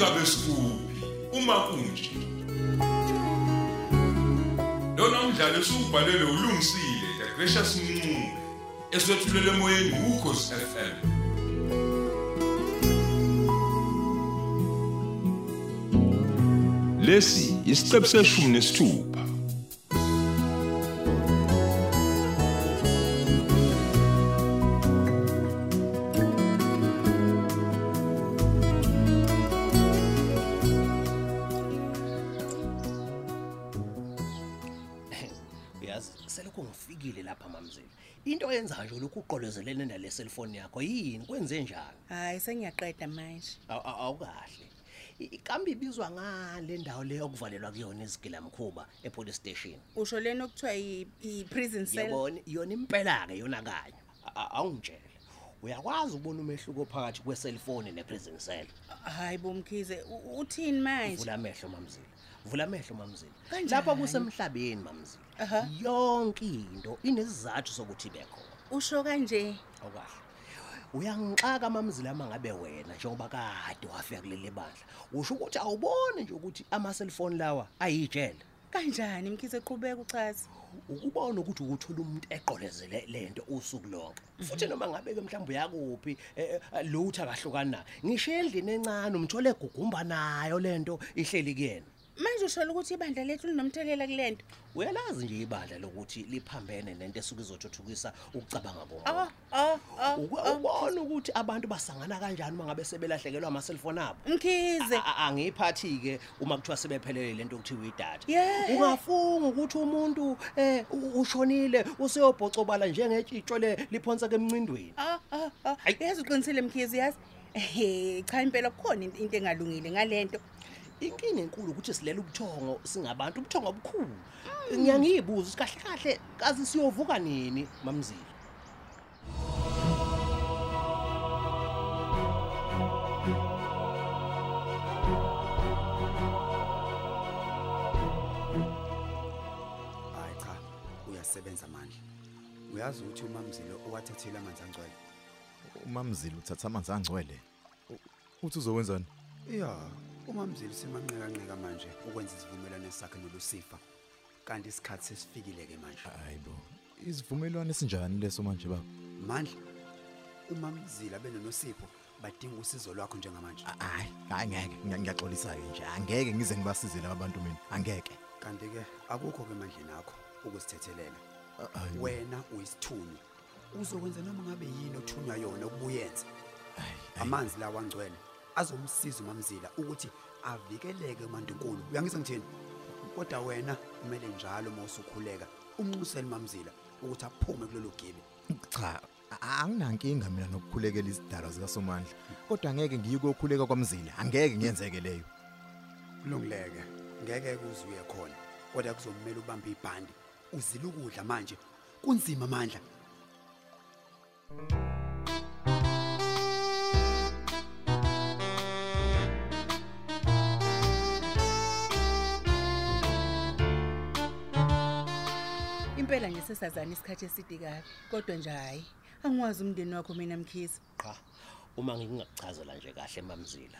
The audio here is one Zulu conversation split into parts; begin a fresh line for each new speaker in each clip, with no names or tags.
sikuphi uma kunje lona umdlalo esiwubhalelwe ulungisile the gracious mncube eswetshulelwe emoyeni ukhosi FM lesi isiqebu seshumi nesithupha
uyazi selokhu ngifikile lapha mamzela into oyenzayo nje lokhu uqolozelene nale cellphone yakho yini kwenze njani
hayi sengiyaqeda manje
Aw- aw- awukahle I- ikambi ibizwa ngale ndawo leyo okuvalelwa kuyona izigilamkhuba epolice station
usho leni okuthiwa yi- yi-prison cell
yabona yona impela-ke yona kanye A- a- awungitshele uyakwazi ukubona umehluko phakathi kweselfoni ne-prison cell
hayi bomkhize u- uthini manje
vula amehlo mamzila vula amehlo mamzila
Kanjani?
lapha kusemhlabeni mamzila
Aha.
yonke into inesizathu sokuthi ibe khona
usho kanje
awukahle Oh, uyangixaka mamzila uma ngabe wena njengoba kade wafika kuleli bandla usho ukuthi awuboni nje ukuthi ama-cellphone lawa ayijele
kanjani mkhize qhubeka uchaze
ukubona ukuthi ukuthola umuntu eqolezele lento usuku lonke futhi noma ngabe-ke mhlawumbe uyakuphi eh, eh, lutho akahlukana ngishiye endlini encane umthole egugumba nayo lento ihleli kuyena
manje ushola ukuthi ibandla lethu linomthelela kule nto
uyalazi nje ibandla lokuthi liphambene nento esuke izothuthukisa ukucabanga
Oh,
komuntu
oh, oh,
Ukwe-
oh.
ubona ukuthi abantu basangana kanjani uma ngabe sebelahlekelwa ama-cellphone abo
mkhize
A- a- angiyiphathi-ke ah, uma kuthiwa sebephelele lento okuthiwa idatha
Yeah.
ungafunga ukuthi umuntu um ushonile useyobhocobala njengetshitsho le liphonseka emncindweni
Ah, ah, ah.
Ayi.
yazi uqinisile mkhize yazi ehe cha impela kukhona in- into engalungile ngale nto
inkinga enkulu ukuthi silela ubuthongo singabantu ubuthongo obukhulu ngiyangiyibuza ukuthi kahle kahle kazi siyovuka nini mamzila
hayi cha uyasebenza manje uyazi ukuthi umamzilo owathathile amanzi angcwele
umamzila uthatha amanzi angcwele U- uthi uzowenzani
ya umamzilo usemanqekanqeka manje ukwenza isivumelwano sakhe nolusifa kanti isikhathi sesifikile-ke manje
hayi bo isivumelwano esinjani leso manje baba
mandla umamzila benonosipho badinga usizo lwakho njengamanje
hayi hayi ngeke ngiya- ngiyaxolisa-ke nje angeke ngize ngibasize laba bantu mina angeke
kanti-ke akukho-ke emandleni akho ukuzithethelela
hayi bo.
wena uyisithunywa uzokwenza noma ngabe yini othunywa yona ukubuyenza
Hayi, hayi.
amanzi lawa angcwele azomsiza umamzila ukuthi avikeleke umandunkulu uyangizwa ngithini kodwa wena kumele njalo uma usukhuleka umnxusele umamzila ukuthi aphume kulolu gibi
cha a- anginankinga mina nokukhulekela isidalwa zikasomandla kodwa angeke ngiyikokhuleka kwamzila angeke ngiyenzeke leyo
kulungileke ngeke kuzuye khona kodwa kuzomela ubambe ibhandi uzile ukudla manje kunzima amandla
impela nje sesazana isikhathi eside kabi kodwa nje hhayi angiwazi umndeni wakho mina mkhize
qha uma ngingakuchazela nje kahle mamzila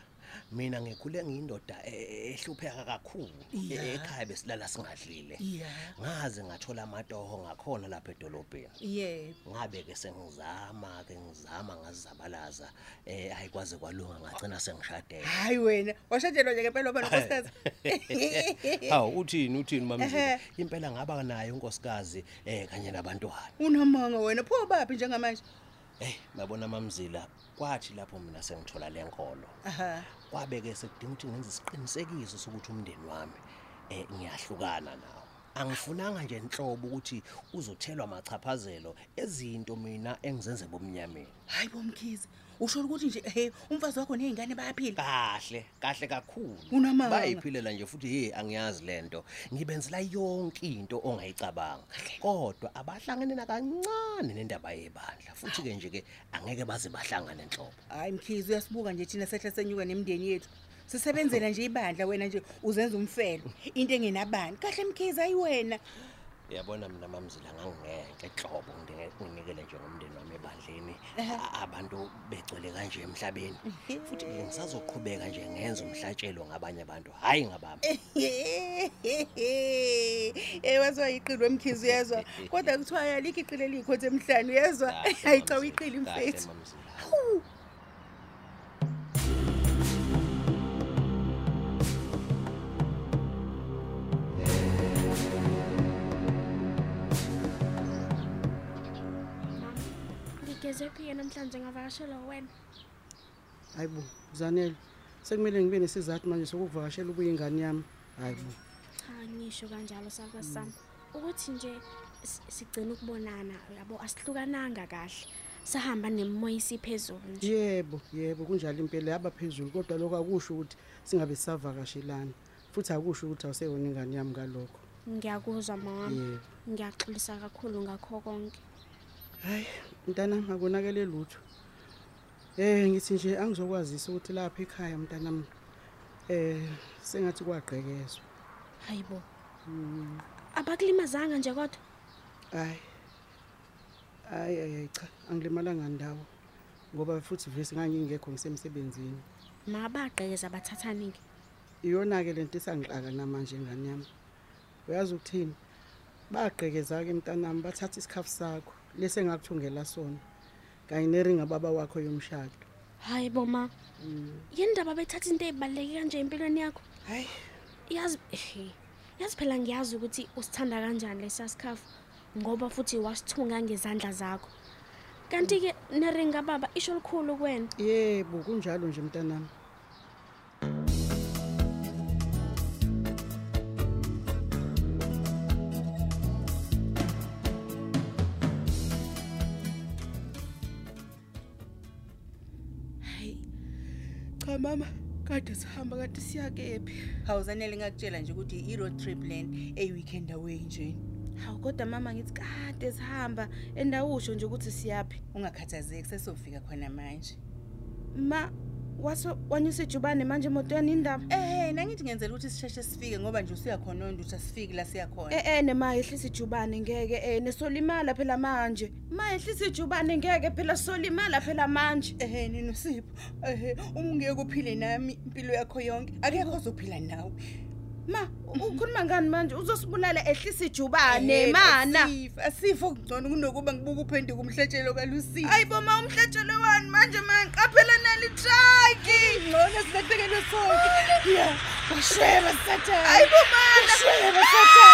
mina ngikhule ngiyindoda e- e- ehlupheka kakhulu
Ya.
E- ekhaya besilala singadlile
ya
ngaze ngathola amatoho ngakhona lapha edolobheni
yebo
ngabe-ke sengizama-ke ngizama ngazizabalaza um hhayi kwaze kwalunga ngagcina sengishadele
hayi wena washatshelwa nje ngempela waba nonkosikazi
hawu uthini uthini mamzila
Ehhe.
impela ngaba nayo unkosikazi um kanye nabantwana
unomanga wena pho baphi njengamanje
eyi babona mamzila kwathi lapho mina sengithola le nkolo
aha
kwabe-ke sekudinga ukuthi ngenze isiqinisekiso sokuthi umndeni wami um ngiyahlukana nawo angifunanga nje nhlobo ukuthi uzothelwa machaphazelo ezinto mina engizenze bomnyameni
hayi bomkhize usho ukuthi nje he umfazi wakho nezingane bayaphila
kahle kahle kakhulu
Unamanga.
bayiphilela nje futhi hey angiyazi lento ngibenzela yonke into ongayicabanga kodwa abahlangene nakancane nendaba yebandla futhi
Ah.
ke nje ke angeke baze bahlangane enhlobo
hayi mkhize uyasibuka nje thina sehla senyuka nemndeni yethu sisebenzela nje ibandla wena nje uzenza umfelo into engenabani kahle mkhize hayi wena
yabona mina mamzila ngangingenhle hlobo nginikele nje ngomndeni wami ebandleni A- abantu begcwele kanje emhlabeni futhi ke ngisazoqhubeka nje ngenza umhlatshelo ngabanye abantu hhayi ngabami
Eh waziwa iqilo emkhizi uyezwa kodwa kuthiwa yalikho iqilo eliyikhotha emhlanu uyezwa hayi cha uyiqili mfethu Hawu.
ngigezephi-ke namhlanje ngavakashelwa wena
hayi bo zanele sekumele ngibe nesizathu manje sokukuvakashela ubuye ingane yami hayi bo
cha ngisho kanjalo sakasami Mm. ukuthi nje si- sigcine ukubonana yabo asihlukananga kahle sahamba nemimoya isiphezulu nje
yebo yebo kunjalo impela yaba phezulu kodwa lokho akusho ukuthi singabe sisavakashelana futhi akusho ukuthi awuseyona ingane yami kalokho
ngiyakuzwa mawami
yebo
ngiyaxolisa kakhulu ngakho konke
hayi mntanami akonakele lutho um ngithi nje angizokwazisa ukuthi lapha ekhaya mntanami um sengathi kwagqekezwa
hayi bo abakulimazanga nje kodwa
hayi hayi hayi hayi, cha angilimalanga ndawo ngoba futhi vese ngangingekho ngisemsebenzini
mabaqekeza bathathani-ke
iyona-ke le nto isangixaka namanje ngane yami uyazi ukuthini bagqekeza-ke mntanami bathatha isikhafu sakho lesi engakuthungela sona kanye neringa baba wakho yomshado
hayi bo ma yini ndaba bethatha into ey'baluleke kanje empilweni yakho
hayi
yazi ehe, yazi phela ngiyazi ukuthi usithanda kanjani lesa sikhafu ngoba futhi wasithunga ngezandla zakho kanti-ke neringa baba isho likhulu kuwena
yebo kunjalo nje mntanami
hayi cha mama kade sihamba kade siyakephi
hawu zanele ngakutshela nje ukuthi i-road trip len eyi-weekend away njeni
hawu kodwa mama ngithi kade sihamba endawusho nje ukuthi siyaphi
ungakhathazeki sesofika khona manje
ma waso wanyusa ijubane manje emotweni indaba
ehe nangithi ngenzela ukuthi sisheshe sifike ngoba nje usuyakhona onda ukuthi asifiki la siyakhona
e-e nema yehlisa ijubane ngeke um
eh,
nesolimala phela manje ma yehlisa ijubane ngeke phela solimala phela manje
ehe nina usipho ehe Eh, uma ungeke uphile nami impilo yakho yonke akekho ozophila nawe
ma ukhuluma ngani manje uzosibulala ehlisa
Ehe,
ijubane mana
asifo- asifo kungcono kunokuba ngibuke uphenduka umhletshelo kalusipho
hayi boma umhlatshelo wani manje mangiqaphela nali traki
ngcono sinakutekelwe sonke ya washweba sathane
hayi bomana
washweba sathane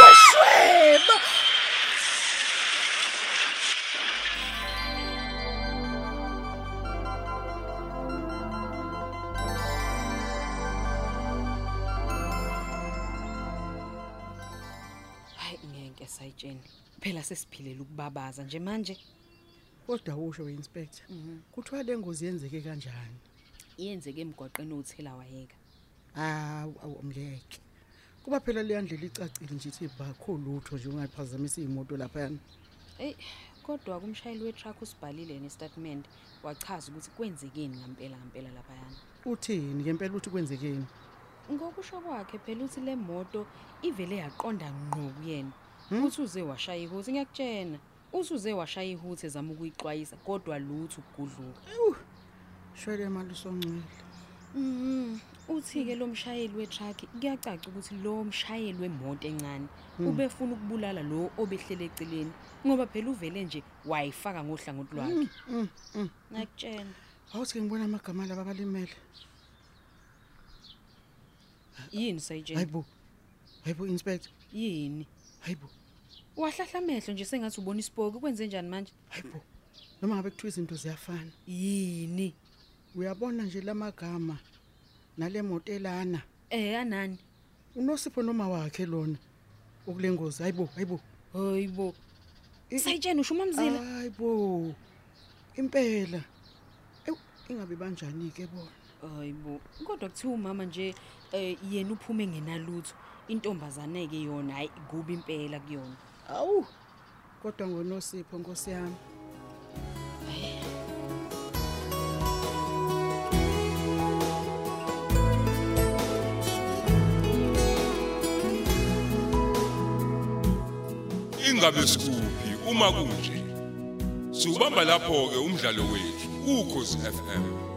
washweba
hayi ngeke sayitsheni phela sesiphilela ukubabaza nje manje
kodwa usho we-inspector
Mhm.
kuthiwa le ngozi yenzeke kanjani
yenzeke emgwaqeni owuthelawayeka
hawu awu ngeke kuba phela leya ndlela icacile nje ithi bakho lutho nje ungaphazamisa iy'moto laphayana
eyi kodwa kumshayeli wetruck usibhalile nesitatimende wachaza ukuthi kwenzekeni ngampela ngampela laphayana
uthini ngempela ukuthi kwenzekeni
ngokusho kwakhe phela uthi le moto ivele yaqonda ngqo kuyena
Hmm?
uthi uze washaya ihuthi ngiyakutshena uthi uze washaya ihuthi ezama ukuyixwayisa kodwa lutho ukugudluka
shwele imali usongcwele Mm-hmm.
Mhm. uthi-ke lo mshayeli wetruck kuyacaca ukuthi lo mshayeli wemoto encane
Hmm.
ubefuna ukubulala lo obehlele eceleni ngoba phela uvele nje wayifaka ngohlangothi lwakhe
Mm-hmm.
ngakutshena
awuthi-ke ngibona amagama laba abalimele hayi
yini sayitshena
bo hayi bo inspector
yini
hayi bo
wahlahla amehlo nje sengathi ubona isipoki kwenze njani manje
hayi bo noma ngabe kuthiwa izinto ziyafana
yini
uyabona nje la magama nale moto elana
Eh anani.
unosipho noma wakhe lona okule ngozi hayi bo hayi bo
Hayibo.
I-
Sayitshena usho umamzila.
hayi bo impela ewu ingabe banjani-ke bona
Hayibo. Kodwa kuthiwa umama nje eh yena uphume ngenalutho. Intombazane ke yona hayi kuba impela kuyona.
awu kodwa ngonosipho nkosi yami
ingabe sikuphi uma kunje siubamba lapho-ke umdlalo wethu ukhozi f m